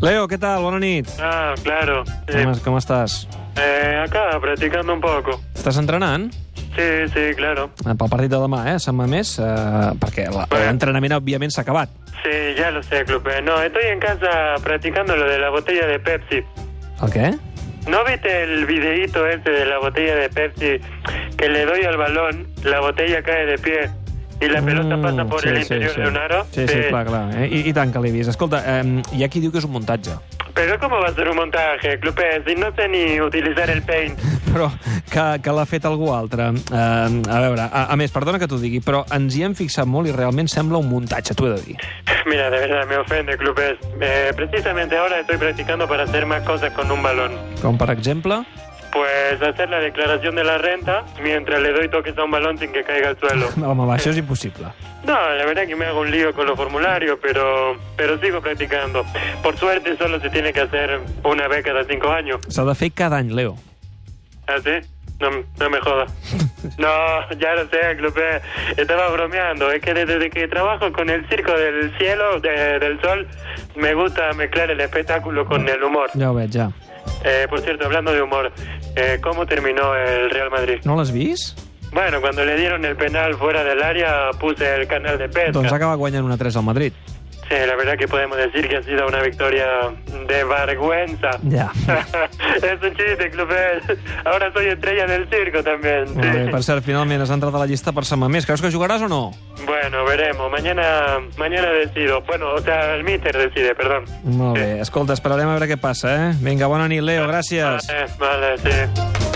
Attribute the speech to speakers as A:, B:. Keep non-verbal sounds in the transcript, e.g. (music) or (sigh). A: Leo, ¿qué tal? Buenas nits.
B: Ah, claro. Sí.
A: ¿Cómo, cómo estás?
B: Eh, acá, practicando un poco.
A: Estàs entrenant?
B: Sí, sí, claro.
A: Eh, Pel partit de demà, eh? Setmana més, eh, perquè la- l'entrenament, òbviament, s'ha acabat.
B: Sí, ya lo sé, Clupe. No, estoy en casa practicando lo de la botella de Pepsi.
A: El què?
B: ¿No viste el videíto ese de la botella de Pepsi que le doy al balón, la botella cae de pie y la pelota pasa por el interior de un aro?
A: Mm, Sí, sí, clar, clar. Eh? I, I tant que l'he vist. Escolta, eh, hi ha qui diu que és un muntatge. (laughs)
B: Pero ¿cómo va a ser un montaje, Clupe? Si no sé ni utilizar el paint.
A: Però que, que l'ha fet algú altre. Eh, a veure, a, a més, perdona que t'ho digui, però ens hi hem fixat molt i realment sembla un muntatge, t'ho he de dir.
B: Mira, de verdad me ofende, Clupe. Eh, precisamente ahora estoy practicando para hacer más cosas con un balón.
A: Com, per exemple... (laughs)
B: Pues hacer la declaración de la renta mientras le doy toques a un balón sin que caiga al
A: (laughs)
B: suelo.
A: Home, va, això és impossible.
B: No, la verdad que me hago un lío con los formularios, pero, pero sigo practicando. Por suerte solo se tiene que hacer una vez cada cinco años.
A: S'ha de fer cada any, Leo.
B: ¿Ah, sí? No, no me jodas. No, ya lo sé, Clupe. Estaba bromeando. Es que desde que trabajo con el circo del cielo, de- del sol, me gusta mezclar el espectáculo con el humor.
A: Ja ho veig, ja.
B: Eh, por cierto, hablando de humor, eh, ¿cómo terminó el Real Madrid?
A: No l'has vist?
B: Bueno, cuando le dieron el penal fuera del área, puse el canal de pesca.
A: Doncs acaba guanyant una 3 al Madrid.
B: Sí, la verdad que podemos decir que ha sido una victoria de vergüenza.
A: Ja.
B: (laughs) es un chiste, Clubel. Ahora soy estrella del circo también. sí.
A: Molt bé, per cert, finalment has entrat a la llista per setmana més. Creus que jugaràs o no?
B: Bueno, veremos. Mañana mañana decido. Bueno, o sea, el míster decide, perdón.
A: Molt bé, escolta, esperarem a veure què passa, eh? Vinga, bona nit, Leo, gràcies.
B: Vale, vale, sí.